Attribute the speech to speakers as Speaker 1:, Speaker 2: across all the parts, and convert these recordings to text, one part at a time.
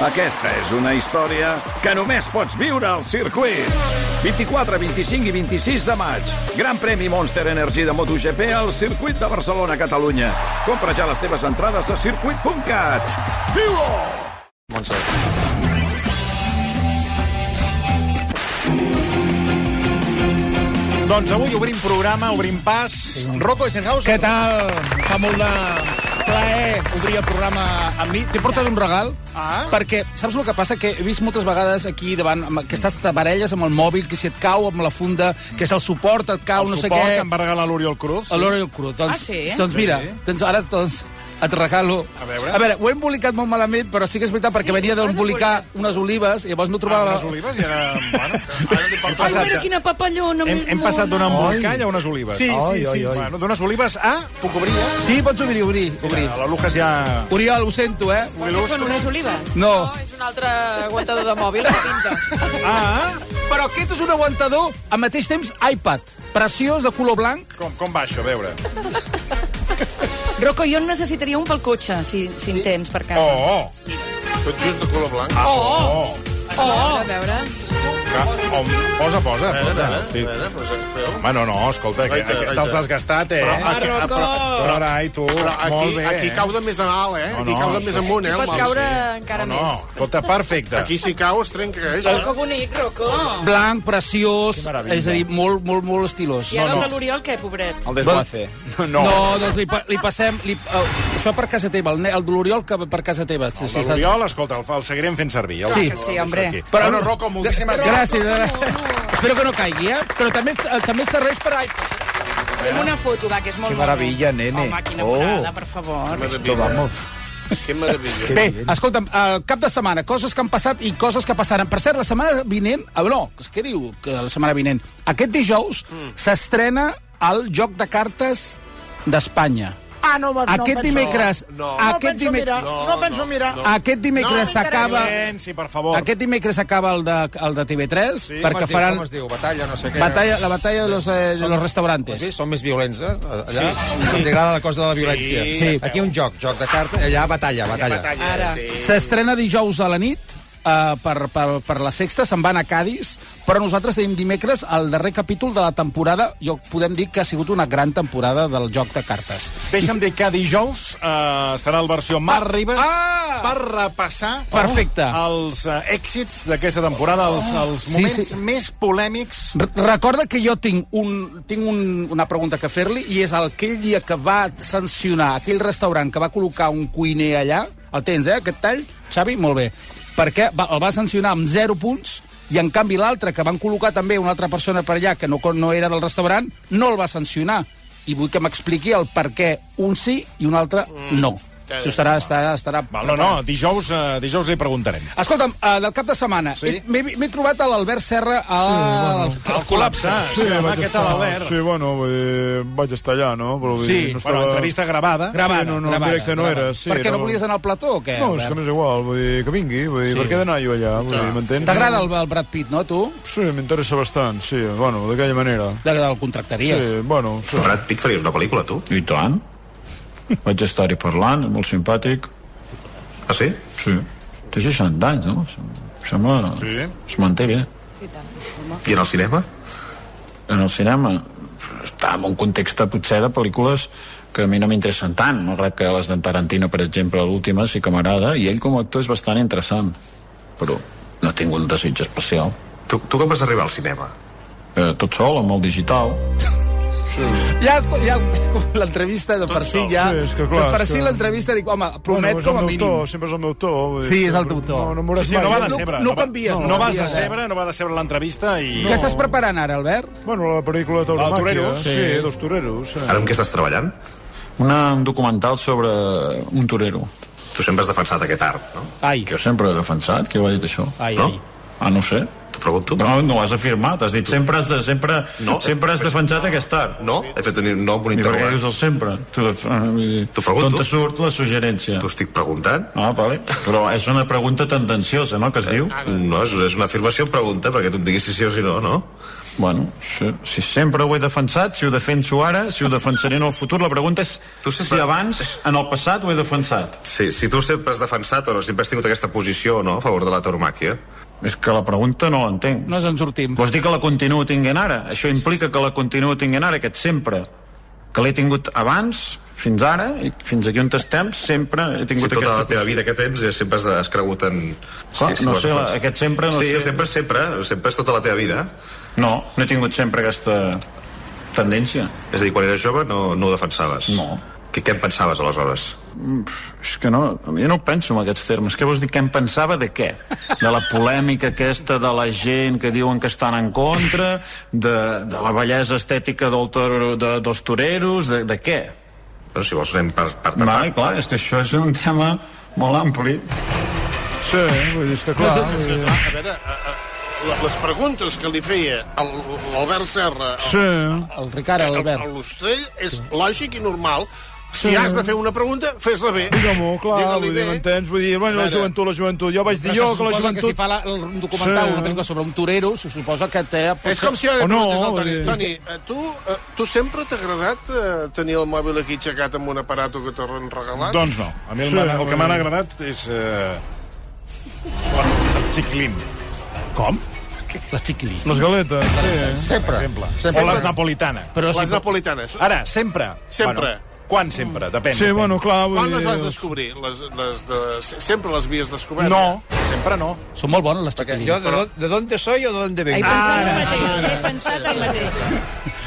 Speaker 1: Aquesta és una història que només pots viure al circuit. 24, 25 i 26 de maig. Gran premi Monster Energy de MotoGP al circuit de Barcelona, Catalunya. Compra ja les teves entrades a circuit.cat. Viu-ho!
Speaker 2: Doncs avui obrim programa, obrim pas. Rocco Eisenhower.
Speaker 3: Què tal? Fa molt de plaer obrir el programa amb mi. T'he portat un regal,
Speaker 2: Ah.
Speaker 3: perquè saps el que passa? Que he vist moltes vegades aquí davant amb aquestes tabarelles amb el mòbil, que si et cau amb la funda, que és el suport, et cau,
Speaker 2: El
Speaker 3: no sé
Speaker 2: suport
Speaker 3: què.
Speaker 2: que em va regalar l'Oriol Cruz.
Speaker 3: A l'hora i el cru. Doncs,
Speaker 4: Ah, sí?
Speaker 3: Doncs mira,
Speaker 2: Sí.
Speaker 3: doncs ara doncs, et regalo.
Speaker 2: A veure.
Speaker 3: a veure, ho he embolicat molt malament, però sí que és veritat, perquè
Speaker 4: Sí,
Speaker 3: venia
Speaker 4: ho has
Speaker 3: d'embolicar
Speaker 4: embolicat.
Speaker 3: unes olives, i llavors no
Speaker 2: Ah,
Speaker 3: trobava...
Speaker 2: unes olives i ara... Bueno, ara li porto-
Speaker 4: Ai,
Speaker 2: Hem
Speaker 4: però quina papallona
Speaker 2: hem,
Speaker 4: més
Speaker 2: hem passat
Speaker 4: mona.
Speaker 2: d'un embolcall a unes olives.
Speaker 3: Sí, sí, sí.
Speaker 2: Bueno, d'unes olives a... Puc obrir, ja?
Speaker 3: Sí, pots obrir, obrir, obrir.
Speaker 2: Mira, La Lucas ja...
Speaker 3: Oriol, ho sento, eh?
Speaker 4: Què són unes olives?
Speaker 3: No.
Speaker 5: No, és un altre aguantador de mòbil que pinta.
Speaker 2: Ah,
Speaker 3: Però aquest és un aguantador, al mateix temps iPad. Preciós, de color blanc.
Speaker 2: com, com va això, a veure?
Speaker 4: Rocco, jo en necessitaria un pel cotxe, si, si en tens per casa.
Speaker 2: Oh, oh.
Speaker 6: Tot just de color blanc.
Speaker 2: Ah, oh, oh.
Speaker 5: A veure,
Speaker 2: Que, oh, posa, posa.
Speaker 7: Ah,
Speaker 6: A veure,
Speaker 2: posa.
Speaker 6: a
Speaker 2: Hosti.
Speaker 6: veure, a veure, Eh, doncs feu.
Speaker 2: Home, no, no, escolta, que,
Speaker 6: Aita,
Speaker 2: que
Speaker 6: aita.
Speaker 2: te'ls has gastat, eh?
Speaker 6: Però aquí-
Speaker 4: Rocco!
Speaker 7: oh,
Speaker 6: però-
Speaker 2: Però, ai, tu,
Speaker 6: però
Speaker 2: molt
Speaker 6: aquí,
Speaker 2: bé.
Speaker 6: aquí cau de més a alt, eh?
Speaker 2: No,
Speaker 6: Aquí
Speaker 2: no,
Speaker 6: cau de
Speaker 2: això
Speaker 6: més
Speaker 2: sí.
Speaker 6: amunt, eh? el
Speaker 5: pot
Speaker 6: mal.
Speaker 5: caure
Speaker 6: Sí.
Speaker 5: encara
Speaker 2: no,
Speaker 5: més.
Speaker 2: no, escolta, perfecte.
Speaker 6: Aquí si cau es trenca, eh?
Speaker 4: Que bonic, Rocco.
Speaker 3: Blanc, preciós,
Speaker 2: Que meravella.
Speaker 3: és a dir, molt, molt, molt estilós.
Speaker 4: I ara el de l'Oriol, què, pobret?
Speaker 8: El desguace.
Speaker 3: No, no doncs li, pa- li passem... Li, uh, això per casa teva, el, ne- el de l'Oriol que va per casa teva. Sí,
Speaker 2: Sí, L'Oriol, escolta, el, el seguirem fent servir. El,
Speaker 3: Sí.
Speaker 2: el-
Speaker 4: Sí, hombre.
Speaker 2: aquí.
Speaker 3: Però-
Speaker 2: Bueno, Rocco, moltíssimes gràcies.
Speaker 3: Gràcies. eh? Espero que no caigui, eh? Però també, eh, també serveix per... a-
Speaker 4: Fem una foto, va, que és molt
Speaker 8: Que
Speaker 4: mono.
Speaker 8: meravella, nene.
Speaker 4: Home, quina
Speaker 8: Oh.
Speaker 4: morada, per favor.
Speaker 6: Maravilla.
Speaker 8: vamos.
Speaker 6: Que maravilla.
Speaker 3: Bé, escolta'm, el cap de setmana, coses que han passat i coses que passaran. Per cert, la setmana vinent... ah, No, què diu que la setmana vinent? Aquest dijous s'estrena el joc de cartes d'Espanya.
Speaker 9: Ah, no, no
Speaker 3: Aquest
Speaker 9: penso-
Speaker 3: dimecres...
Speaker 6: No.
Speaker 9: No
Speaker 3: Aquest
Speaker 9: penso mirar,
Speaker 3: dimecres...
Speaker 9: no,
Speaker 6: No,
Speaker 9: penso
Speaker 6: no,
Speaker 9: mirar.
Speaker 6: no.
Speaker 3: Aquest dimecres
Speaker 9: No m'interessa.
Speaker 3: s'acaba...
Speaker 2: Silenci, per
Speaker 7: Oh.
Speaker 2: favor.
Speaker 3: Aquest dimecres s'acaba el, de, el de TV3, sí,
Speaker 8: Com
Speaker 3: perquè
Speaker 8: es diu,
Speaker 3: faran
Speaker 8: Com es diu? Batalla, no sé què.
Speaker 3: batalla, la batalla de los, eh, de los
Speaker 8: Has vist?
Speaker 3: restaurantes.
Speaker 8: Són més violents, eh? Allà sí. els agrada la cosa de la violència.
Speaker 3: Sí.
Speaker 8: Aquí un joc, joc de cartes, allà batalla, batalla.
Speaker 6: Ara. Sí.
Speaker 3: S'estrena dijous a la nit uh, per, per, per la sexta, se'n van a Cádiz, però nosaltres tenim dimecres el darrer capítol de la temporada, jo podem dir que ha sigut una gran temporada del joc de cartes.
Speaker 2: Deixa'm dir que dijous eh, estarà el versió Mar Ribas
Speaker 3: Ah!
Speaker 2: per repassar
Speaker 3: Perfecte.
Speaker 2: Oh. els eh, èxits d'aquesta temporada, els, els
Speaker 3: Sí,
Speaker 2: moments
Speaker 3: sí.
Speaker 2: més polèmics.
Speaker 3: R- Recorda que jo tinc, un, tinc un, una pregunta que fer-li i és aquell dia que va sancionar aquell restaurant que va col·locar un cuiner allà, el tens, eh, aquest tall? Xavi, molt bé. Perquè va, el va sancionar amb 0 punts i, en canvi, l'altre, que van col·locar també una altra persona per allà que no, co- no era del restaurant, no el va sancionar. I vull que m'expliqui el per què un sí i un altre no. Això estarà... estarà, estarà
Speaker 2: Mm, Val, no, no, dijous, eh, dijous li preguntarem.
Speaker 3: Escolta'm, uh, del cap de setmana, sí? m'he m'he trobat a l'Albert Serra a... Sí,
Speaker 2: El col·lapse. Sí, home, què tal, Albert?
Speaker 10: Sí, bueno, vull dir, vaig estar allà, no? Però, vull
Speaker 3: Sí,
Speaker 10: dir, no
Speaker 2: Bueno, entrevista gravada.
Speaker 3: Gravada,
Speaker 10: Sí, no, no, en
Speaker 3: gravada,
Speaker 10: directe no
Speaker 3: gravada.
Speaker 10: era, sí,
Speaker 3: per què no,
Speaker 10: no.
Speaker 3: volies anar al plató o què?
Speaker 10: No, és que no és igual, vull dir, que vingui, vull dir,
Speaker 3: Sí.
Speaker 10: per què he d'anar jo allà, vull dir, m'entens?
Speaker 3: T'agrada el, el Brad Pitt, no, tu?
Speaker 10: Sí, m'interessa bastant, sí, bueno, d'aquella manera.
Speaker 3: De, del contractaries.
Speaker 10: Sí, bueno, sí.
Speaker 11: Brad Pitt faries una pel·lícula, tu?
Speaker 10: I tant. Vaig estar-hi parlant, molt simpàtic.
Speaker 11: Ah, sí?
Speaker 10: Sí. Té 60 anys, no? Sembla...
Speaker 2: Sí.
Speaker 10: Es manté bé.
Speaker 11: I en el cinema?
Speaker 10: en el cinema està en un context potser de pel·lícules que a mi no m'interessen tant, malgrat que les d'en Tarantino, per exemple, l'última sí que m'agrada, i ell com a actor és bastant interessant, però no tinc un desig especial.
Speaker 11: Tu, tu com vas arribar al cinema?
Speaker 10: Eh, tot sol, amb el digital.
Speaker 3: Ja, ja com l'entrevista de per si ja...
Speaker 10: Sí, és que clar,
Speaker 3: de per
Speaker 10: és
Speaker 3: si
Speaker 10: que-
Speaker 3: l'entrevista dic, home, promet
Speaker 10: és el
Speaker 3: com a
Speaker 10: meu
Speaker 3: mínim.
Speaker 10: to, sempre és el meu to. Vull dir,
Speaker 3: Sí, és el
Speaker 10: sempre-
Speaker 3: teu to.
Speaker 10: No, no m'hauràs
Speaker 2: Sí, sí, no va
Speaker 10: mai.
Speaker 3: de-
Speaker 2: decebre.
Speaker 3: no canvies,
Speaker 2: No,
Speaker 3: no
Speaker 2: no vas
Speaker 3: canvies,
Speaker 2: decebre, no va decebre l'entrevista i...
Speaker 3: Què estàs preparant ara, Albert?
Speaker 10: Bueno, la pel·lícula de Tauromàquia.
Speaker 2: Toreros,
Speaker 10: sí.
Speaker 2: sí.
Speaker 10: dos toreros. Sí.
Speaker 11: Ara amb què estàs treballant?
Speaker 10: Una, un documental sobre un torero.
Speaker 11: Tu sempre has defensat aquest art, no?
Speaker 3: Ai,
Speaker 10: Jo sempre he defensat, que ho ha dit això?
Speaker 3: ai,
Speaker 11: no?
Speaker 3: ai.
Speaker 10: Ah, no sé.
Speaker 11: T'ho pregunto.
Speaker 10: Però no ho has afirmat, has dit sempre has, de, sempre,
Speaker 11: No.
Speaker 10: sempre has defensat aquest art.
Speaker 11: No? He fet un, no, un
Speaker 10: I per què
Speaker 11: interrogant.
Speaker 10: dius el sempre? Tu de,
Speaker 11: T'ho pregunto.
Speaker 10: D'on te surt la suggerència?
Speaker 11: T'ho estic preguntant?
Speaker 10: Ah, vale. Però és una
Speaker 11: Eh.
Speaker 10: pregunta tendenciosa, no?, que es diu.
Speaker 11: No, és, és una afirmació pregunta perquè tu em diguis si sí o si no, no?
Speaker 10: Bueno, si, si sempre ho he defensat, si ho defenso ara, si ho defensaré en el futur, la pregunta és
Speaker 12: Tu
Speaker 10: tu
Speaker 12: sempre-
Speaker 10: sempre... si abans, en el passat, ho he defensat.
Speaker 12: Sí, si tu sempre has defensat o no, sempre has tingut aquesta posició no, a favor de la eh? tauromàquia.
Speaker 10: És que la pregunta no l'entenc.
Speaker 3: No ens en sortim.
Speaker 10: Vols dir que la continuo tinguent ara? Això implica que la continuo tinguent ara, aquest sempre. Que l'he tingut abans, fins ara, i fins aquí on estem, sempre he
Speaker 12: Si
Speaker 10: tingut
Speaker 12: tota la
Speaker 10: aquesta...
Speaker 12: teva vida que tens eh, sempre has, has cregut en...
Speaker 10: Clar, no
Speaker 12: la
Speaker 10: sé,
Speaker 12: defensa.
Speaker 10: aquest sempre no
Speaker 12: sí,
Speaker 10: sé.
Speaker 12: sempre, sempre, sempre és tota la teva vida.
Speaker 10: No, no he tingut sempre aquesta tendència.
Speaker 12: És a dir, quan eres jove no, no ho defensaves.
Speaker 10: No.
Speaker 12: Què, què en pensaves aleshores?
Speaker 10: És que no, jo no ho penso en aquests termes. Què vols dir? Què em pensava de què? De la polèmica aquesta de la gent que diuen que estan en contra, de, de la bellesa estètica del toro, de, dels toreros, de, de què?
Speaker 12: Però si vols anem per, per tapar.
Speaker 10: Vale, clar, és que això és un tema molt ampli.
Speaker 7: Sí, vull dir, és que clar... vull dir-
Speaker 6: Ah, A veure, a, a, la- les preguntes que li feia el- l'Albert Serra al-
Speaker 7: Sí.
Speaker 3: El Ricard,
Speaker 6: al-
Speaker 3: l'Albert.
Speaker 6: a l'Ostrell és lògic i normal. Si has de fer una pregunta, fes-la bé.
Speaker 7: Digue-m'ho, clar,
Speaker 6: Digue-li
Speaker 7: vull dir,
Speaker 6: bé.
Speaker 7: m'entens? Vull dir, bueno, la
Speaker 6: Mare.
Speaker 7: joventut, la joventut. Jo vaig dir
Speaker 3: Però
Speaker 7: jo
Speaker 3: se
Speaker 7: que la
Speaker 3: suposa que si
Speaker 7: joventut...
Speaker 3: fa la, el documental,
Speaker 7: Sí.
Speaker 3: una pel·lícula sobre un torero, se suposa que té...
Speaker 6: És com si ara
Speaker 7: O no,
Speaker 6: preguntés al
Speaker 7: vull
Speaker 6: Toni.
Speaker 7: dir-
Speaker 6: Toni, eh, tu, eh, tu sempre t'ha agradat eh, tenir el mòbil aquí aixecat amb un aparato que t'han regalat?
Speaker 7: Doncs no. A mi el,
Speaker 3: Sí,
Speaker 7: sí, el
Speaker 3: vull
Speaker 7: que m'ha
Speaker 3: dir-
Speaker 7: agradat és... Eh, les, les xiclim. Com?
Speaker 3: Les xiquilí.
Speaker 7: Les galetes. Sí.
Speaker 8: Sempre.
Speaker 7: Sempre. O les napolitanes.
Speaker 3: Però
Speaker 6: Les napolitanes.
Speaker 7: Ara, sempre.
Speaker 6: Sempre.
Speaker 7: Bueno, quan sempre? Depèn.
Speaker 9: Sí,
Speaker 7: depèn.
Speaker 9: bueno, clar, vull
Speaker 6: Quan les
Speaker 9: dir...
Speaker 13: doncs-
Speaker 6: vas descobrir? Les, les de... Sempre les havies descobert?
Speaker 7: No, sempre no.
Speaker 3: Són molt bones, les
Speaker 8: Perquè
Speaker 3: xiquilí.
Speaker 8: jo de, do- de d'on soy o de d'on
Speaker 4: He
Speaker 8: vengo.
Speaker 4: pensat el mateix, he pensat el mateix.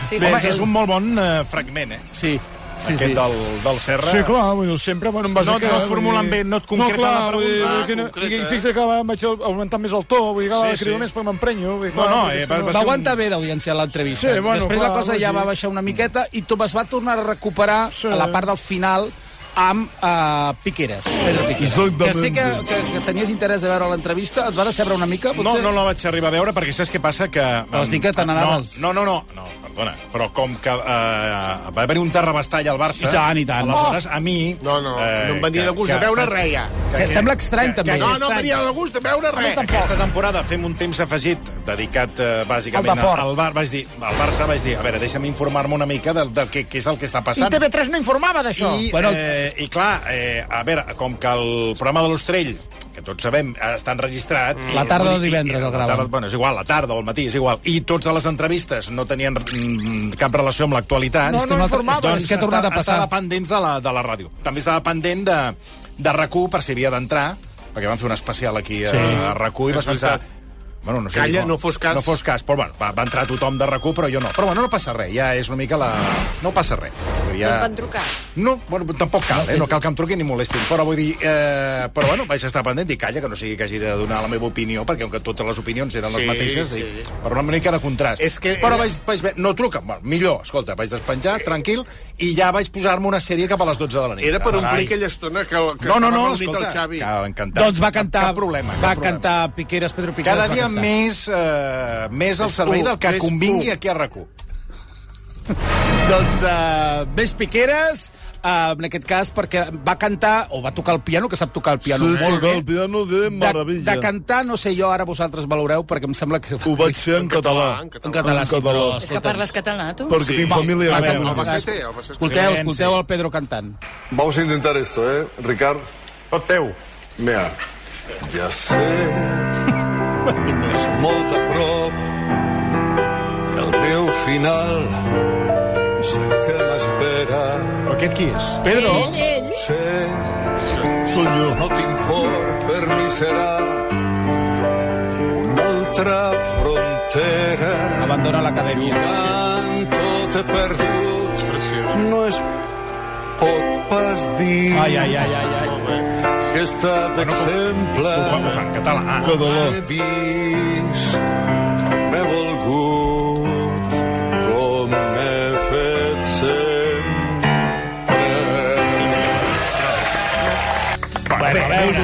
Speaker 4: Sí,
Speaker 7: Home,
Speaker 4: sí.
Speaker 7: és un molt bon eh, fragment, eh?
Speaker 3: Sí. Sí,
Speaker 7: Aquest
Speaker 3: sí.
Speaker 7: del, del Serra.
Speaker 9: Sí, clar, vull dir, sempre... Bueno, em vas
Speaker 7: No-
Speaker 9: a quedar,
Speaker 7: no et formulen
Speaker 9: vull dir-
Speaker 7: bé, no et concreten
Speaker 9: no, clar,
Speaker 7: la
Speaker 9: vull dir,
Speaker 6: pregunta.
Speaker 9: que no,
Speaker 6: Ah, concreta,
Speaker 9: i,
Speaker 6: eh?
Speaker 9: i fixa que vaig augmentar més el to, vull dir, cada
Speaker 7: Sí,
Speaker 9: vegada
Speaker 7: sí.
Speaker 9: crido més perquè m'emprenyo. vull dir,
Speaker 7: No,
Speaker 9: clar,
Speaker 7: no,
Speaker 9: vull dir,
Speaker 7: eh,
Speaker 9: és que
Speaker 7: va- va
Speaker 3: Va
Speaker 7: ser un-
Speaker 3: aguantar bé d'audiència l'entrevista.
Speaker 9: Sí, bueno,
Speaker 3: Després la
Speaker 9: clar,
Speaker 3: cosa
Speaker 9: vull
Speaker 3: ja
Speaker 9: dir-
Speaker 3: va baixar una miqueta i tu es va tornar a recuperar
Speaker 9: Sí.
Speaker 3: a la part del final amb uh, Piqueres. Pedro Piqueres. Que
Speaker 9: Exactament.
Speaker 3: sí que, que, que tenies interès a veure l'entrevista, et va decebre una mica,
Speaker 7: No,
Speaker 3: potser?
Speaker 7: no la vaig arribar a veure perquè saps què passa? Que...
Speaker 3: Vas dir que te n'anaves.
Speaker 7: No, no, no, no, no, perdona. Però com que eh, va haver un terrabastall al Barça...
Speaker 3: I tant, i tant.
Speaker 7: Aleshores, a mi... eh,
Speaker 6: No, no, no em venia de gust de veure res, ja.
Speaker 3: Que sembla estrany, també.
Speaker 6: No, no em venia de gust de veure res.
Speaker 7: eh, Aquesta temporada fem un temps afegit dedicat eh, bàsicament
Speaker 9: Al
Speaker 7: al,
Speaker 9: Depor.
Speaker 7: al, Bar, vaig dir, al Barça vaig dir, a veure, deixa'm informar-me una mica del, del que, què és el que està passant.
Speaker 9: TV3 no informava d'això.
Speaker 7: I,
Speaker 3: Bueno,
Speaker 7: bueno, eh, I clar, eh, a veure, com que el programa de l'Ostrell que tots sabem, eh, està enregistrat... i-
Speaker 3: Mm. La tarda de
Speaker 7: i- i-
Speaker 3: divendres el
Speaker 7: la
Speaker 3: graven.
Speaker 7: tarda- Bueno, és igual, la tarda o el matí, és igual. I totes les entrevistes no tenien mm, cap relació amb l'actualitat.
Speaker 3: No, És que no nosaltres- informaven. és que ha tornat a
Speaker 7: doncs, estava-
Speaker 3: passar.
Speaker 7: Estava pendents de la, de la ràdio. També estava pendent de, de RAC1 per si havia d'entrar, perquè van fer un especial aquí sí. a RAC1 i
Speaker 6: És
Speaker 7: vas pensar...
Speaker 6: veritat.
Speaker 7: Bueno, no sé
Speaker 6: Calla,
Speaker 7: com-
Speaker 6: no fos cas.
Speaker 7: No fos cas, però bueno, va, va entrar tothom de RAC1, però jo no. Però bueno, no passa res, ja és una mica la... No passa res. Ja...
Speaker 5: Em van trucar.
Speaker 7: No, bueno, tampoc cal, eh? No cal que em truquin ni molestin. Però vull dir... Eh, però bueno, vaig estar pendent i calla, que no sigui que hagi de donar la meva opinió, perquè com que totes les opinions eren les
Speaker 6: Sí,
Speaker 7: mateixes,
Speaker 6: sí.
Speaker 7: i, per una mica de contrast.
Speaker 6: És que-
Speaker 7: Però vaig, vaig bé, no truca. Bueno, millor, escolta, vaig despenjar, tranquil, i ja vaig posar-me una sèrie cap a les 12 de la nit.
Speaker 6: Era per
Speaker 7: Carai.
Speaker 6: omplir aquella estona que, que
Speaker 7: No, no, no,
Speaker 6: estava reunit
Speaker 7: escolta,
Speaker 6: el Xavi.
Speaker 7: que encantat.
Speaker 3: Doncs va cantar,
Speaker 7: Cap, cap problema.
Speaker 3: va
Speaker 7: cap problema.
Speaker 3: cantar Piqueres, Pedro Piqueres.
Speaker 7: Cada
Speaker 3: va
Speaker 7: dia
Speaker 3: cantar.
Speaker 7: més, eh, més al servei
Speaker 6: u,
Speaker 7: del que
Speaker 6: més
Speaker 7: convingui
Speaker 6: u.
Speaker 7: aquí a RAC1.
Speaker 3: Doncs uh, més Piqueres, uh, en aquest cas, perquè va cantar, o va tocar el piano, que sap tocar el piano
Speaker 9: Sí,
Speaker 3: molt bé.
Speaker 9: el piano de
Speaker 3: De,
Speaker 9: meravella.
Speaker 3: de cantar, no sé jo, ara vosaltres valoreu, perquè em sembla que...
Speaker 9: Ho vaig fer en català.
Speaker 6: en català.
Speaker 3: En català, sí, però...
Speaker 9: català.
Speaker 4: És que parles català, tu?
Speaker 9: Perquè tinc família
Speaker 3: va,
Speaker 9: a
Speaker 3: va,
Speaker 9: veure.
Speaker 3: va.
Speaker 6: Albacete, Albacete.
Speaker 3: Escolteu,
Speaker 7: Silenci.
Speaker 3: escolteu el Pedro cantant.
Speaker 9: Vamos a intentar esto, eh, Ricard?
Speaker 7: Tot teu.
Speaker 9: Mira, ja sé, és molt a prop el meu final. Sé que m'espera,
Speaker 7: Però aquest qui és?
Speaker 3: Pedro?
Speaker 4: Ell, ell.
Speaker 9: sé, Soy jo. no tinc por, per mi serà una altra frontera.
Speaker 3: Abandona l'acadèmia.
Speaker 9: Tant tot he perdut,
Speaker 6: Preciós.
Speaker 9: no es pot pas dir
Speaker 7: Ah,
Speaker 3: Ai, ai, ai, ai, ai.
Speaker 9: que he estat exemple.
Speaker 7: Ho fa, ho fa en català. Ah.
Speaker 9: que dolor. He vist, m'he volgut, com he fet sempre.
Speaker 7: Bueno, a veure,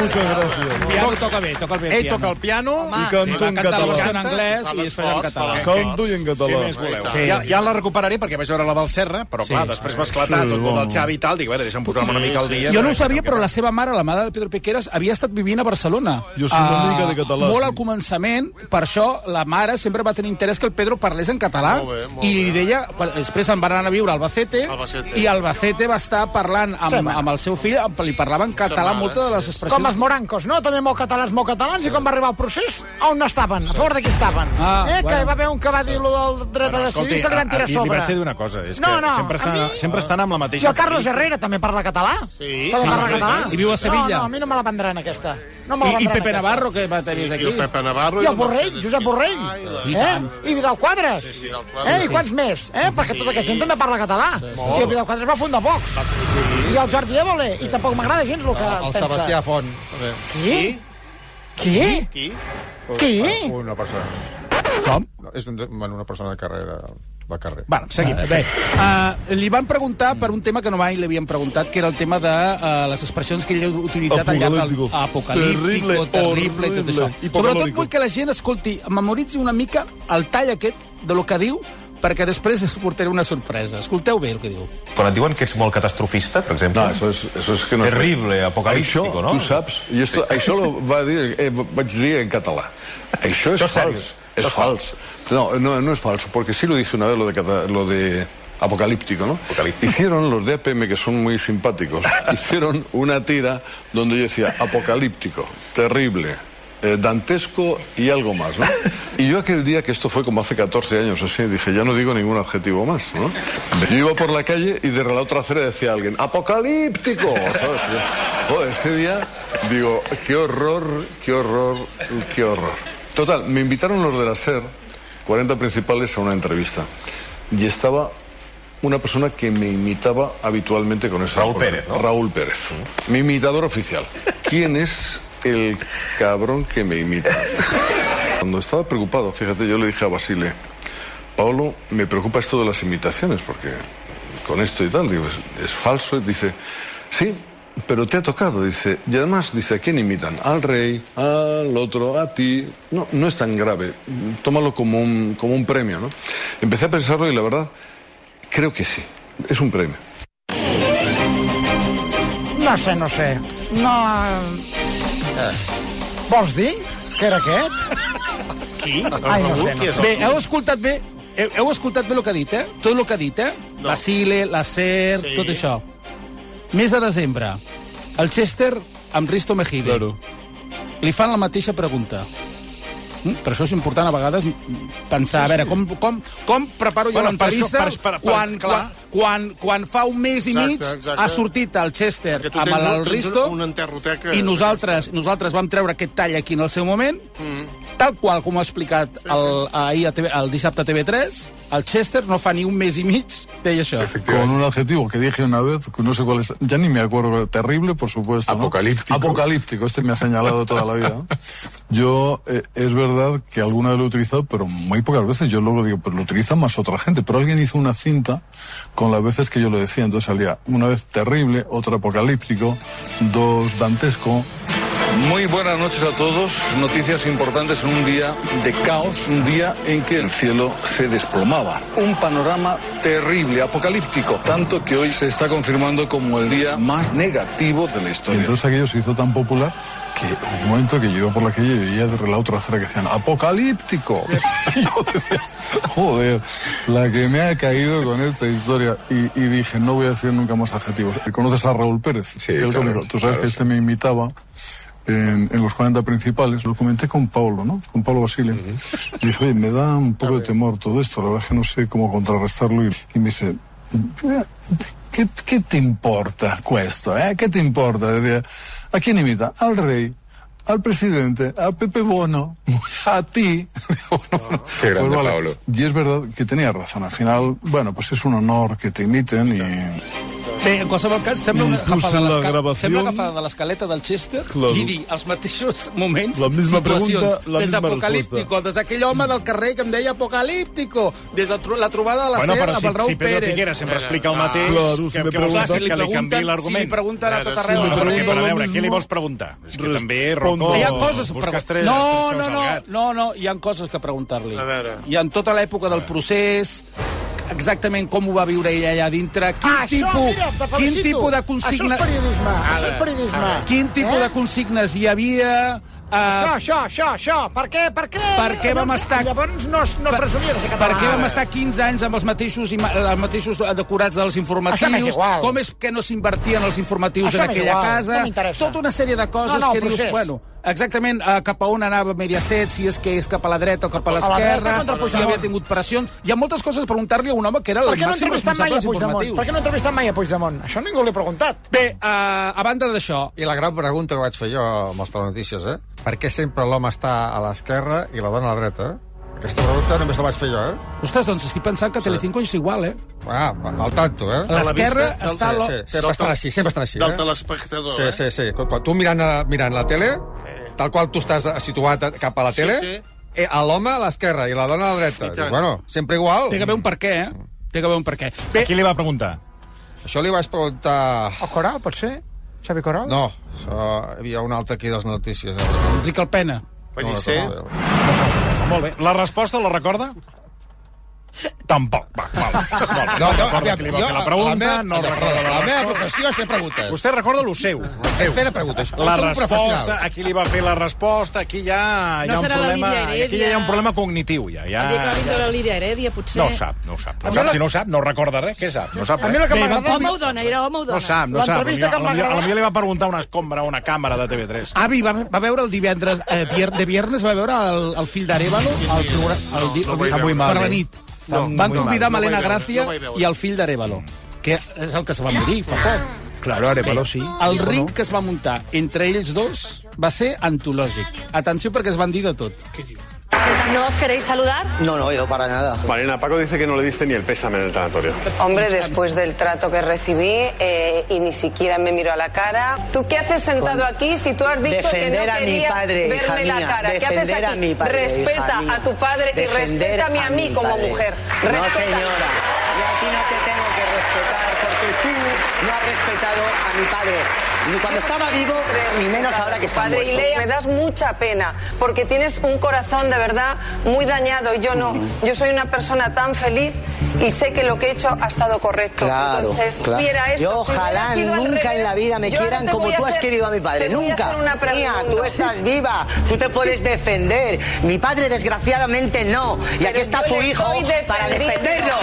Speaker 7: Muchas gracias.
Speaker 3: piano toca bé, toca el bé.
Speaker 7: Ell toca el piano
Speaker 3: Home,
Speaker 7: i canta
Speaker 3: sí, va
Speaker 7: en
Speaker 3: cantar la
Speaker 7: català.
Speaker 3: versió en anglès
Speaker 7: Fa
Speaker 3: i es fa en
Speaker 7: l'esforç,
Speaker 3: català.
Speaker 7: fa l'esforç. Canto i en català.
Speaker 2: Què més voleu?
Speaker 7: Sí.
Speaker 2: Sí, ja, ja la recuperaré perquè vaig veure la del Serra, però
Speaker 3: Sí,
Speaker 2: clar,
Speaker 3: sí,
Speaker 2: després
Speaker 3: sí.
Speaker 2: va esclatar
Speaker 3: Sí,
Speaker 2: tot el
Speaker 3: bueno.
Speaker 2: del Xavi i tal, dic, a veure, deixa'm posar-me una mica al dia.
Speaker 3: Jo no ho sabia, però la seva mare, la mare de Pedro Piqueras, havia estat vivint a Barcelona. Ah,
Speaker 7: Jo soc una mica de català,
Speaker 3: Molt
Speaker 7: sí.
Speaker 3: al començament, per això la mare sempre va tenir interès que el Pedro parlés en català.
Speaker 6: Molt bé, molt
Speaker 3: I li deia... per- Després se'n van anar a viure a Albacete,
Speaker 6: Albacete.
Speaker 3: i Albacete va estar parlant
Speaker 13: Sa
Speaker 3: amb,
Speaker 13: mare.
Speaker 3: amb el seu fill, amb- li parlava en català
Speaker 13: mare,
Speaker 3: moltes de les expressions.
Speaker 13: Com els morancos, no? També molt catalans, molt catalans. I quan va arribar el procés, on estaven? A favor de qui estaven?
Speaker 2: Ah,
Speaker 13: eh, que
Speaker 2: bueno.
Speaker 13: hi va haver un que va dir lo del dret a decidir, se li van tirar a
Speaker 7: Li
Speaker 13: sobre.
Speaker 7: vaig dir una cosa, és
Speaker 13: No,
Speaker 7: que
Speaker 13: no,
Speaker 7: sempre, estan,
Speaker 13: a
Speaker 7: mi... sempre estan amb la mateixa...
Speaker 13: I el Carlos Herrera també parla català?
Speaker 7: Sí,
Speaker 13: També
Speaker 7: sí,
Speaker 13: parla
Speaker 7: sí,
Speaker 13: català?
Speaker 7: sí. I viu a Sevilla.
Speaker 13: No, no, a mi no me la vendran, aquesta. No me la vendran, aquesta.
Speaker 3: que va tenir
Speaker 6: aquí. I el Pepe Navarro
Speaker 13: I el Borrell, Josep Borrell. eh? I Vidal Quadres.
Speaker 6: Sí, sí, Vidal Quadres.
Speaker 13: eh? I quants més? Eh? Perquè tota aquesta gent també parla català. I el Vidal Quadres va fundar Vox. I el Jordi Évole. I tampoc m'agrada gens el que
Speaker 8: El
Speaker 13: pensa.
Speaker 8: Sebastià Font. també.
Speaker 13: Qui? Qui?
Speaker 8: Qui?
Speaker 13: Qui?
Speaker 8: Una persona.
Speaker 3: Com?
Speaker 8: És un, bueno, una persona de carrera de carrer.
Speaker 3: Bueno, seguim.
Speaker 7: Eh,
Speaker 3: Bé, uh, li van preguntar per un tema que no mai li havien preguntat, que era el tema de uh, les expressions que ell ha utilitzat al llarg del
Speaker 7: Apocalíptico.
Speaker 3: apocalíptico,
Speaker 7: Terrible,
Speaker 3: terrible i tot això.
Speaker 7: horrible, i
Speaker 3: Sobretot
Speaker 7: hipocalòrico.
Speaker 3: vull que la gent escolti, memoritzi una mica el tall aquest de lo que diu, perquè després us portaré una sorpresa. Escolteu bé el que diu.
Speaker 11: Quan et diuen que ets molt catastrofista, per exemple...
Speaker 9: Ah,
Speaker 11: No, eso es, eso es que
Speaker 9: no es-
Speaker 11: Terrible,
Speaker 9: Això,
Speaker 11: apocalíptico, no?
Speaker 9: tu saps, i això, això lo va dir, eh, vaig dir en català. Això és
Speaker 11: Això és
Speaker 9: fals,
Speaker 11: serio.
Speaker 9: és fals. No, no, no es falso, porque sí lo dije una vez lo de, cata- lo de apocalíptico, ¿no? Hicieron los de APM, que son muy simpáticos, hicieron una tira donde yo decía apocalíptico, terrible. eh, dantesco y algo más, ¿no? Y yo aquel día, que esto fue como hace 14 años así, dije, ya no digo ningún adjetivo más, ¿no? Yo iba por la calle y de relato trasera decía alguien, apocalíptico, ¿sabes? Yo, joder, ese día digo, qué horror, qué horror, qué horror. Total, me invitaron los de la SER 40 principales a una entrevista. Y estaba una persona que me imitaba habitualmente con esa
Speaker 11: Raúl
Speaker 9: voz.
Speaker 11: Pérez, ¿no?
Speaker 9: Raúl Pérez. Mi imitador oficial. ¿Quién es el cabrón que me imita? Cuando estaba preocupado, fíjate, yo le dije a Basile, Paolo, me preocupa esto de las imitaciones, porque con esto y tal, digo, es, es falso. Y dice, sí, pero te ha tocado, dice. Y además, dice, ¿a quién imitan? Al rey, al otro, a ti. No, no es tan grave. Tómalo como un, como un premio, ¿no? Empecé a pensarlo y la verdad, creo que sí. Es un premio.
Speaker 13: No sé, no sé. No... eh, Vols dir que era aquest?
Speaker 6: Qui?
Speaker 13: Ai, no sé, no sé.
Speaker 3: Bé, heu escoltat bé heu, heu escoltat bé el que ha dit, eh? Tot el que ha dit, eh? No. Basile, la SER,
Speaker 2: Sí.
Speaker 3: sí. tot això. Mes de desembre, el Chester amb Risto Mejide. Claro. Li fan la mateixa pregunta. Mm? Per això és important a vegades pensar, a veure, com, com, com preparo jo
Speaker 2: Bueno,
Speaker 3: bueno,
Speaker 2: per
Speaker 3: l'entrevista
Speaker 2: això- per- per- per-
Speaker 3: quan,
Speaker 2: clar.
Speaker 3: quan, quan, quan fa un mes i
Speaker 6: Exacte,
Speaker 3: mig
Speaker 6: exacte.
Speaker 3: ha sortit el Chester
Speaker 6: Perquè tu
Speaker 3: amb
Speaker 6: tens un-
Speaker 3: el
Speaker 6: tens
Speaker 3: Risto
Speaker 6: un- una enterroteca.
Speaker 3: i nosaltres, nosaltres vam treure aquest tall aquí en el seu moment tal qual com ho ha explicat el, ahir a TV, el dissabte a TV3, el Chester no fa ni un mes i mig deia això.
Speaker 14: Con un adjetivo que dije una vez, que no sé cuál es, ya ni me acuerdo, terrible, por supuesto. ¿no?
Speaker 9: Apocalíptico.
Speaker 14: Apocalíptico, este me ha señalado toda la vida. ¿no? Yo, eh, es verdad que alguna vez lo he utilizado, pero muy pocas veces. Yo luego digo, pues lo utiliza más otra gente. Pero alguien hizo una cinta con las veces que yo lo decía. Entonces salía una vez terrible, otra apocalíptico, dos dantesco.
Speaker 15: Muy buenas noches a todos. Noticias importantes en un día de caos, un día en que el cielo se desplomaba. Un panorama terrible, apocalíptico, tanto que hoy se está confirmando como el día más negativo de la
Speaker 14: Y
Speaker 15: historia.
Speaker 14: entonces aquello se hizo tan popular que hubo un momento que yo iba por la calle y veía de relato trasera que decían ¡Apocalíptico! Y yo decía, joder, la que me ha caído con esta historia. Y, y dije, no voy a decir nunca más adjetivos. ¿Conoces a Raúl Pérez? Sí, el
Speaker 9: claro,
Speaker 14: cómico. Tú sabes
Speaker 9: claro.
Speaker 14: que este me imitaba. En, en los 40 principales, lo comenté con Pablo, ¿no? Con Pablo Basile. Y dije, oye, me da un poco de temor todo esto, la verdad es que no sé cómo contrarrestarlo. Y, y me dice, ¿Qué, qué te importa esto? Eh? ¿Qué te importa? Decía, ¿A quién imita? Al rey, al presidente, a Pepe Bono, a ti. Digo, no, no. Pues
Speaker 9: Ah, grande,
Speaker 14: vale.
Speaker 9: Pablo.
Speaker 14: Y es verdad que tenía razón. Al final, bueno, pues es un honor que te imiten y...
Speaker 3: Bé, en qualsevol cas, sembla una
Speaker 7: Inclús
Speaker 3: agafada,
Speaker 7: en la
Speaker 3: l'esca-
Speaker 7: grabación-
Speaker 3: sembla agafada de l'escaleta del Chester
Speaker 7: Claro.
Speaker 3: i dir els mateixos moments,
Speaker 7: La misma
Speaker 3: situacions,
Speaker 7: pregunta, la
Speaker 3: des
Speaker 7: misma
Speaker 3: d'apocalíptico, des d'aquell home del carrer que em deia apocalíptico, des de tro- la trobada de la
Speaker 2: Bueno,
Speaker 3: Serra
Speaker 2: però si-
Speaker 3: pel Raül
Speaker 2: si Pedro
Speaker 3: Pérez.
Speaker 2: Piquera sempre explica el mateix,
Speaker 7: Claro, si
Speaker 2: que-
Speaker 7: me
Speaker 2: que vols
Speaker 7: pregunten-
Speaker 2: que li canviï
Speaker 3: pregunten-
Speaker 2: l'argument?
Speaker 3: si li pregunten a
Speaker 2: Ara,
Speaker 3: tot
Speaker 2: si
Speaker 3: arreu
Speaker 2: li
Speaker 3: el
Speaker 2: pregunten
Speaker 3: mateix.
Speaker 2: per a veure,
Speaker 3: Respondo.
Speaker 2: què li vols preguntar? És que també, Rocco,
Speaker 3: Hi ha coses
Speaker 2: busques
Speaker 3: pregun-
Speaker 2: tres-
Speaker 3: No,
Speaker 2: tres
Speaker 3: no,
Speaker 2: peus
Speaker 3: no,
Speaker 2: al gat.
Speaker 3: no, no, hi ha coses que preguntar-li. I en tota l'època del procés, exactament com ho va viure ella allà dintre, quin
Speaker 13: Ah, Això,
Speaker 3: tipus,
Speaker 13: mira, te
Speaker 3: quin
Speaker 13: felicito.
Speaker 3: tipus de
Speaker 13: Això
Speaker 3: consigna...
Speaker 13: és periodisme, això és periodisme.
Speaker 3: Quin tipus
Speaker 13: Eh?
Speaker 3: de consignes hi havia... Eh,
Speaker 13: Això, això, això, això. Per què? Ah. Per què?
Speaker 3: Per què vam
Speaker 13: Llavors-
Speaker 3: estar-
Speaker 13: Llavors no, es- no presumia de ser
Speaker 3: per
Speaker 13: català. eh?
Speaker 3: què vam estar 15 anys amb els mateixos, ima- eh, els mateixos decorats dels
Speaker 13: Això m'és
Speaker 3: informatius?
Speaker 13: igual.
Speaker 3: Com és que no s'invertien els informatius
Speaker 13: Això
Speaker 3: en
Speaker 13: m'és
Speaker 3: aquella
Speaker 13: igual, no
Speaker 3: casa?
Speaker 13: m'interessa.
Speaker 3: tota una sèrie de coses
Speaker 13: No, no,
Speaker 3: que
Speaker 13: el
Speaker 3: dius...
Speaker 13: procés.
Speaker 3: Bueno, exactament eh, cap a on anava Mediaset, si és que és cap a la dreta o cap a
Speaker 13: la dreta
Speaker 3: l'esquerra,
Speaker 13: contra
Speaker 3: si
Speaker 13: Puigdemont.
Speaker 3: havia tingut pressions... Hi ha moltes coses a preguntar-li a un home que era
Speaker 13: Per
Speaker 3: el
Speaker 13: què no
Speaker 3: màxim
Speaker 13: entrevistem
Speaker 3: responsable
Speaker 13: mai a
Speaker 3: dels
Speaker 13: Puigdemont? Per
Speaker 3: informatius.
Speaker 13: què no entrevistem mai a Puigdemont? Això ningú li ha preguntat.
Speaker 3: Bé, eh, a banda d'això...
Speaker 8: I la gran pregunta que vaig fer jo amb els telenotícies, eh? Per què sempre l'home està a l'esquerra i la dona a la dreta? Aquesta pregunta només la vaig fer jo, eh?
Speaker 3: Ostres, doncs estic pensant que Telecinco és igual, eh?
Speaker 8: Ah, al tanto, eh?
Speaker 3: A l'esquerra
Speaker 8: Sí,
Speaker 3: està
Speaker 8: sí,
Speaker 3: lo-
Speaker 8: Sí, sempre estan així, sempre estan així,
Speaker 6: Del
Speaker 8: eh?
Speaker 6: telespectador,
Speaker 8: Sí,
Speaker 6: eh?
Speaker 8: sí, sí. Quan, quan tu mirant, a, mirant la tele, tal qual tu estàs eh, situat a- cap a la
Speaker 6: Sí,
Speaker 8: tele,
Speaker 6: sí.
Speaker 8: eh, a l'home a l'esquerra i la dona a la dreta.
Speaker 3: I tant.
Speaker 8: Dic, bueno, sempre igual.
Speaker 3: Té que haver un per què, eh? Té que haver un per què.
Speaker 8: A qui li va preguntar? Això li vaig preguntar...
Speaker 13: O Oh, Coral, pot ser? Xavi Coral?
Speaker 8: No, això, hi havia un altre aquí de les notícies. Eh?
Speaker 3: Enric Alpena.
Speaker 8: Pellicer.
Speaker 7: Molt bé. La resposta la recorda? Tampoc. Va, val. Molt bé. No,
Speaker 8: No, no,
Speaker 7: recorda
Speaker 8: aviam,
Speaker 7: que li
Speaker 8: jo-
Speaker 7: va fer la
Speaker 8: la
Speaker 7: pregunta,
Speaker 8: meva-
Speaker 7: no recorda la
Speaker 8: la meva
Speaker 7: resposta.
Speaker 8: professió és fer preguntes.
Speaker 7: Vostè recorda lo seu. Lo seu.
Speaker 8: És fer preguntes.
Speaker 7: La
Speaker 8: Soc un
Speaker 7: resposta,
Speaker 8: professional.
Speaker 7: aquí li va fer la resposta, aquí ja hi ha,
Speaker 4: No
Speaker 7: un
Speaker 4: serà la
Speaker 7: problema...
Speaker 4: Lídia Heredia.
Speaker 7: Aquí ja hi ha un problema cognitiu, ja. Ah, ja,
Speaker 4: El dia que va vindre
Speaker 7: ja.
Speaker 4: la Lídia Heredia, potser...
Speaker 7: No ho sap, no ho sap. No
Speaker 4: A mi
Speaker 7: sap.
Speaker 4: la-
Speaker 7: Si no ho sap, no recorda res. Què sap? No sap
Speaker 4: A mi
Speaker 7: res.
Speaker 4: la que
Speaker 7: Bé,
Speaker 4: m'agradava-
Speaker 7: va-
Speaker 4: Home o dona, era home o dona.
Speaker 7: No sap, no sap.
Speaker 4: L'entrevista
Speaker 7: Potser-
Speaker 4: que em va
Speaker 7: potser-
Speaker 4: agradar- Ah,
Speaker 7: potser li va preguntar una escombra a una càmera de TV3.
Speaker 3: Avi, va, va veure el divendres, eh, vier, de viernes, va veure el, el fill d'Arevalo al programa... El, di-
Speaker 7: no vaig
Speaker 3: el-
Speaker 7: veure.
Speaker 3: per la nit.
Speaker 7: No, no
Speaker 3: Van
Speaker 7: vaig
Speaker 3: convidar
Speaker 7: veure,
Speaker 3: Malena
Speaker 7: no vaig
Speaker 3: Gràcia
Speaker 7: veure, no vaig veure. Ah.
Speaker 3: i el fill d'Arevalo, que és el que se va morir fa poc.
Speaker 2: Claro, Arevalo
Speaker 3: Bé,
Speaker 2: sí.
Speaker 3: El ring que es va muntar entre ells dos va ser antològic. Atenció perquè es van dir de tot.
Speaker 16: ¿No os queréis saludar?
Speaker 17: No, no, yo para nada. Marina, Paco dice que no le diste ni el pésame en el tanatorio.
Speaker 18: Hombre, después del trato que recibí eh, y ni siquiera me miró a la cara. ¿Tú qué haces sentado aquí si tú has dicho que
Speaker 17: Defender
Speaker 18: no
Speaker 17: a mi
Speaker 18: querías
Speaker 17: padre, hija
Speaker 18: verme la
Speaker 17: mía.
Speaker 18: cara? ¿Qué haces
Speaker 17: Defender
Speaker 18: aquí?
Speaker 17: a mi padre, hija
Speaker 18: respeta
Speaker 17: mía.
Speaker 18: a tu padre y
Speaker 17: Defender
Speaker 18: respétame a,
Speaker 17: a
Speaker 18: mí
Speaker 17: mi
Speaker 18: como
Speaker 17: padre.
Speaker 18: mujer.
Speaker 17: No,
Speaker 18: Respétame.
Speaker 17: señora. Yo a ti no te tengo que respetar porque tú no has respetado a mi padre. Ni cuando estaba vivo, ni menos ahora que está
Speaker 18: Padre
Speaker 17: muerto.
Speaker 18: Ilea, me das mucha pena porque tienes un corazón de verdad muy dañado y yo no. Yo soy una persona tan feliz y sé que lo que he hecho ha estado correcto.
Speaker 17: Claro,
Speaker 18: Entonces,
Speaker 17: claro.
Speaker 18: mira esto.
Speaker 17: Yo
Speaker 18: si hubiera
Speaker 17: ojalá
Speaker 18: sido al
Speaker 17: nunca
Speaker 18: revés,
Speaker 17: en la vida me
Speaker 18: yo ahora
Speaker 17: quieran
Speaker 18: te
Speaker 17: como
Speaker 18: voy a
Speaker 17: tú has
Speaker 18: hacer-
Speaker 17: querido a mi padre.
Speaker 18: te voy a
Speaker 17: Nunca.
Speaker 18: hacer una
Speaker 17: Mía,
Speaker 18: pregunta.
Speaker 17: tú estás viva. Tú te puedes defender. Mi padre, desgraciadamente, no. Y aquí está
Speaker 18: yo
Speaker 17: su
Speaker 18: le
Speaker 17: hijo
Speaker 18: estoy
Speaker 17: para
Speaker 18: defendiendo.
Speaker 17: defenderlo.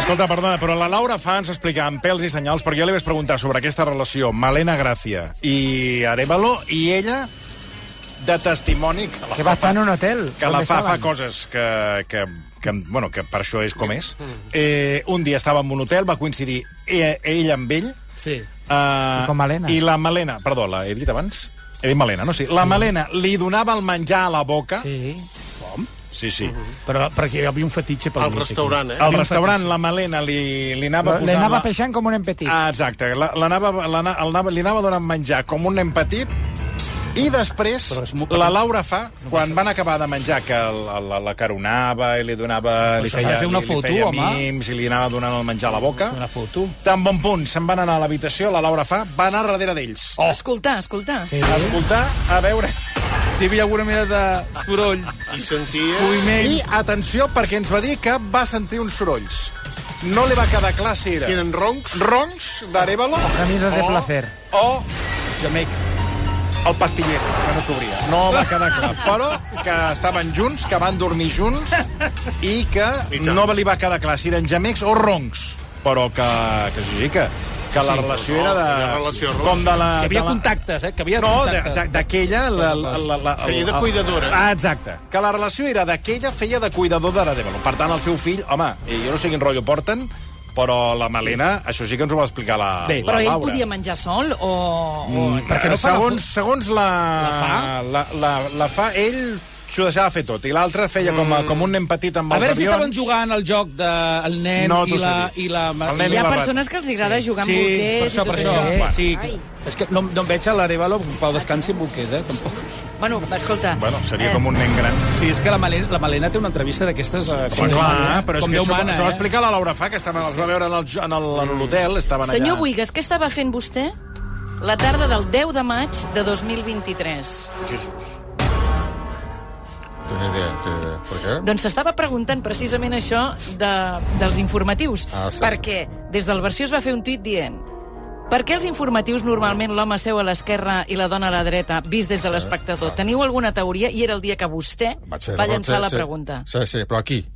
Speaker 7: Escolta, perdona, però la Laura fa ens explicar amb pèls i senyals, perquè jo li vaig preguntar sobre aquesta relació Malena Gràcia i Arevalo, i ella de testimoni que la
Speaker 13: Que va
Speaker 7: fa-
Speaker 13: estar en un hotel.
Speaker 7: que la
Speaker 13: ¿Dónde
Speaker 7: fa fa
Speaker 13: estaban?
Speaker 7: coses que, que, que, bueno, que per això és com és. Eh, un dia estava en un hotel, va coincidir eh, ell amb ell.
Speaker 3: Sí.
Speaker 7: Eh,
Speaker 13: I com Malena.
Speaker 7: I la Malena, perdó, la he dit abans? He dit Malena, no? Sí. La
Speaker 3: Sí.
Speaker 7: Malena li donava el menjar a la boca.
Speaker 3: Sí.
Speaker 7: Com? Sí, sí.
Speaker 3: Però perquè hi havia un fetitxe pel
Speaker 7: Al
Speaker 3: mig, aquí.
Speaker 7: restaurant, eh?
Speaker 8: Ah.
Speaker 3: Hi havia un
Speaker 7: Al restaurant,
Speaker 3: fetitxe.
Speaker 7: la Malena li, li anava
Speaker 13: Le
Speaker 7: posant...
Speaker 13: anava
Speaker 7: la-
Speaker 13: peixant com un empetit.
Speaker 7: Ah, exacte. La, l'anava, l'ana- el anava- li anava donant menjar com un nen petit i després la Laura fa, quan van acabar de menjar, que la, la, la caronava i li donava... Li
Speaker 3: Però s'ha de fer una
Speaker 7: li,
Speaker 3: foto,
Speaker 7: li feia
Speaker 3: home.
Speaker 7: mims i li anava donant el menjar a la boca.
Speaker 3: Una foto.
Speaker 7: Tan bon punt, se'n van anar a l'habitació, la Laura fa, va anar darrere d'ells. Oh.
Speaker 4: Escoltar, escoltar.
Speaker 7: Sí. A escoltar, a veure si hi havia alguna mena de soroll.
Speaker 6: I sentia...
Speaker 7: Moviment. I atenció, perquè ens va dir que va sentir uns sorolls. No li va quedar clar si era...
Speaker 6: Si eren roncs.
Speaker 7: Roncs d'Arevalo.
Speaker 13: Gemidos de
Speaker 7: o-
Speaker 13: placer.
Speaker 7: O gemecs. El pastiller, que no s'obria. No va quedar clar. Però que estaven junts, que van dormir junts i que no li va quedar clar si eren gemecs o roncs. Però que, que sí, sí, que, que la
Speaker 3: Sí.
Speaker 7: relació
Speaker 3: No,
Speaker 7: era de...
Speaker 3: era relació roncs.
Speaker 7: com de la...
Speaker 3: Que hi havia
Speaker 7: de la-
Speaker 3: contactes, eh? Que hi havia
Speaker 7: no, de-
Speaker 3: contactes.
Speaker 7: exacte, d'aquella... la- la- la- la-
Speaker 6: Feia de
Speaker 7: el- el-
Speaker 6: cuidadora.
Speaker 7: Ah, exacte. Que la relació era d'aquella, feia de cuidador d'Arevalo. Per tant, el seu fill, home, eh, jo no sé quin rotllo porten, però la Malena, això sí que ens ho va explicar la,
Speaker 4: Bé,
Speaker 7: la
Speaker 4: però ell
Speaker 7: Laura.
Speaker 4: podia menjar sol o... o...
Speaker 3: Eh,
Speaker 7: Mm, perquè no segons, segons la, la, fa? La, la, la fa, ell s'ho deixava fer tot. I l'altre feia com, a, com un nen petit amb
Speaker 3: Mm. A
Speaker 7: els
Speaker 3: veure
Speaker 7: avions.
Speaker 3: si estaven jugant al joc del de, el nen
Speaker 7: No
Speaker 3: i,
Speaker 7: t'ho sé
Speaker 3: la,
Speaker 7: dir.
Speaker 3: i la...
Speaker 7: El nen i Hi ha la bat. persones
Speaker 4: que els agrada jugar amb
Speaker 3: sí,
Speaker 4: bolquers
Speaker 3: per
Speaker 4: i
Speaker 3: això,
Speaker 4: tot
Speaker 3: per
Speaker 4: això.
Speaker 3: això.
Speaker 4: Bueno.
Speaker 3: Sí,
Speaker 4: Ai.
Speaker 3: és que no, no em veig a l'Arevalo amb Pau Descansi amb bolquers, eh, tampoc.
Speaker 4: Bueno, va, escolta...
Speaker 7: Bueno,
Speaker 3: Eh.
Speaker 7: seria com un nen gran.
Speaker 3: Sí, és que la Malena, la Malena té una entrevista d'aquestes... Eh,
Speaker 7: Home, clar, però és
Speaker 3: com
Speaker 7: que
Speaker 3: Déu
Speaker 7: això,
Speaker 3: mana,
Speaker 7: això ho va
Speaker 3: eh? Mm.
Speaker 7: explicar la Laura Fa, que estava, els va veure en el- en el- en l'hotel, estaven allà.
Speaker 4: Senyor Buigas, què estava fent vostè la tarda del 10 de maig de 2023?
Speaker 8: Jesús. Té una idea, té una idea. Per què?
Speaker 4: Doncs s'estava preguntant precisament això de, dels informatius.
Speaker 8: Ah, sí.
Speaker 4: Perquè des del versió es va fer un tuit dient per què els informatius normalment l'home seu a l'esquerra i la dona a la dreta, vist des de l'espectador? Teniu alguna teoria? I era el dia que vostè
Speaker 8: Ah. Vaig fer-
Speaker 4: va llançar
Speaker 8: sí,
Speaker 4: la
Speaker 8: sí.
Speaker 4: pregunta.
Speaker 8: Sí, sí, però aquí.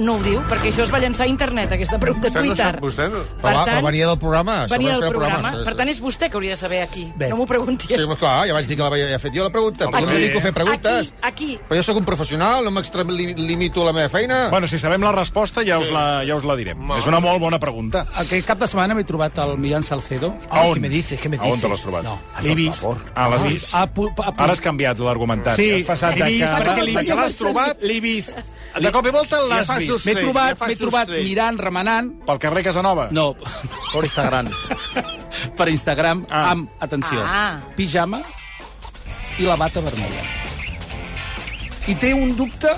Speaker 4: No ho diu, perquè això es va llançar a internet, aquesta pregunta a
Speaker 8: Vostè no
Speaker 4: Twitter.
Speaker 8: sap- vostè no- Però va- però venia del programa, això
Speaker 4: Venia
Speaker 8: va fer
Speaker 4: del
Speaker 8: el programa,
Speaker 4: programa.
Speaker 8: sí, sí.
Speaker 4: Per tant, és vostè que hauria de saber aquí.
Speaker 8: Bé.
Speaker 4: No m'ho pregunti.
Speaker 8: Sí, però clar, ja vaig dir que la havia fet jo la pregunta. Però no
Speaker 4: Aquí.
Speaker 8: dic fer preguntes.
Speaker 4: Aquí, aquí.
Speaker 8: Però jo sóc un professional, no m'extralimito la meva feina.
Speaker 7: Ah. Bueno, si sabem la resposta, ja us la, ja us la direm. És una molt bona pregunta.
Speaker 3: Aquest cap de setmana m'he trobat el Millán Salcedo.
Speaker 7: A on?
Speaker 3: Ah, Què me dices? Què me
Speaker 7: A
Speaker 3: dices?
Speaker 7: on te l'has trobat?
Speaker 3: No,
Speaker 7: A l'he vist. Ah, l'has vist?
Speaker 3: A pu- a pu-
Speaker 7: Ara has canviat l'argumentat.
Speaker 3: Sí,
Speaker 7: has passat
Speaker 3: l'he
Speaker 7: de
Speaker 3: vist,
Speaker 7: que,
Speaker 3: perquè l'he
Speaker 7: de que l'has
Speaker 3: vist.
Speaker 7: trobat...
Speaker 3: L'he vist.
Speaker 7: De cop i volta
Speaker 3: Ja
Speaker 7: l'has
Speaker 3: fas
Speaker 7: vist.
Speaker 3: M'he trobat, m'he trobat mirant, remenant...
Speaker 7: Pel carrer Casanova?
Speaker 3: No.
Speaker 8: Per Instagram.
Speaker 3: per Instagram, ah. amb, atenció,
Speaker 4: Ah.
Speaker 3: pijama i la bata vermella. I té un dubte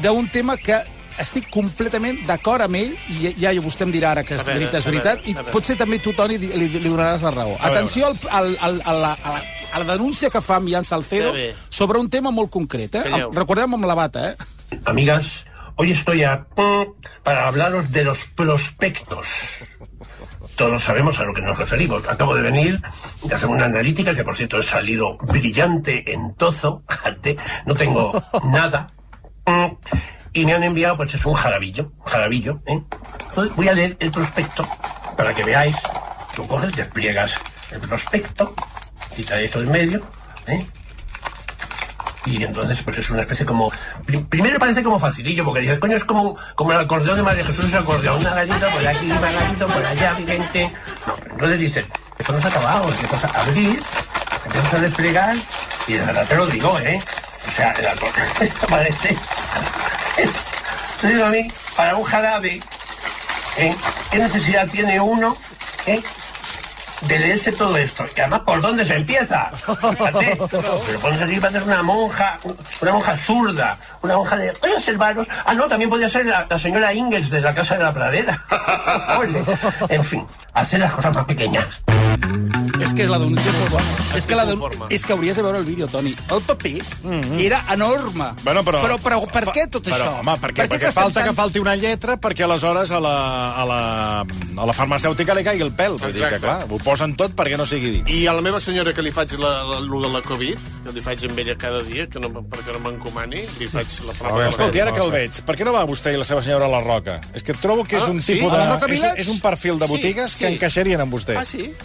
Speaker 3: d'un tema que estic completament d'acord amb ell, i ja vostè em dirà ara que
Speaker 7: A
Speaker 3: és
Speaker 7: veure,
Speaker 3: veritat, és
Speaker 7: a veure,
Speaker 3: veritat, i
Speaker 7: a veure.
Speaker 3: potser també tu, Toni, di- li, li donaràs la raó.
Speaker 7: A veure.
Speaker 3: Atenció al, al, al, a, la, a, la, a la denúncia que fa Millán Salcedo
Speaker 19: Sí, bé.
Speaker 3: sobre un tema molt concret. Eh?
Speaker 19: Calleu.
Speaker 3: Recordem amb la bata, eh?
Speaker 19: Amigas, hoy estoy a para hablaros de los prospectos. Todos sabemos a lo que nos referimos. Acabo de venir de hacer una analítica que, por cierto, he salido brillante en tozo. Fíjate, No tengo nada. Y me han enviado, pues es un jarabillo. un Jarabillo, ¿eh? Entonces, voy a leer el prospecto para que veáis. Tú coges, despliegas el prospecto, quitas esto en medio, ¿eh? Y entonces, pues es una especie como. pri- Primero parece como facilillo, porque dices, coño, es como, como el acordeón de Madre Jesús, el acordeón, una gallita por aquí, una gallita por allá, vigente. No, pero entonces dices, esto no se ha acabado, empiezas a abrir, empiezas a desplegar, y de verdad te lo digo, ¿eh? O sea, el acordeón, esto parece. Te digo a mí, para un jarabe, ¿eh? ¿qué necesidad tiene uno, ¿eh? de leerse todo esto. Y además, ¿por dónde se empieza? Fíjate. Pero pones aquí para hacer una monja, una monja zurda, una monja de... ¡Oye, Selvaros! Ah, no, también podría ser la, la señora Ingalls de la Casa de la Pradera. Ole. En fin, hacer las cosas más pequeñas.
Speaker 3: És que la denúncia és molt bona. És que, la denú... és que hauries de veure el vídeo, Toni. El paper era enorme.
Speaker 7: Mhm. Bueno, però,
Speaker 3: però, però per
Speaker 7: fa-
Speaker 3: què tot
Speaker 7: però,
Speaker 3: això?
Speaker 7: Home, perquè,
Speaker 3: Per què
Speaker 7: perquè
Speaker 3: gastem
Speaker 7: falta
Speaker 3: tant-
Speaker 7: que falti una lletra perquè aleshores a la, a la, a la farmacèutica li caigui el pèl. Vull dir que,
Speaker 6: Exacte.
Speaker 7: clar, ho posen tot perquè no sigui dit.
Speaker 6: I a la meva senyora, que li faig la, la, lo de la Covid, que li faig amb ella cada dia, que no, me- perquè no m'encomani, li faig la prova.
Speaker 7: Però,
Speaker 6: de la
Speaker 7: escolti, ara
Speaker 6: Covid.
Speaker 7: que el veig, per què no va vostè i la seva senyora a la Roca? És que trobo que és
Speaker 6: eh. Ah,
Speaker 7: un
Speaker 6: sí?
Speaker 7: tipus
Speaker 6: A
Speaker 7: de...
Speaker 6: la Roca
Speaker 7: és,
Speaker 6: Village?
Speaker 7: és un perfil de
Speaker 6: Sí,
Speaker 7: botigues
Speaker 6: sí.
Speaker 7: que encaixarien amb vostè.
Speaker 6: Ah, sí?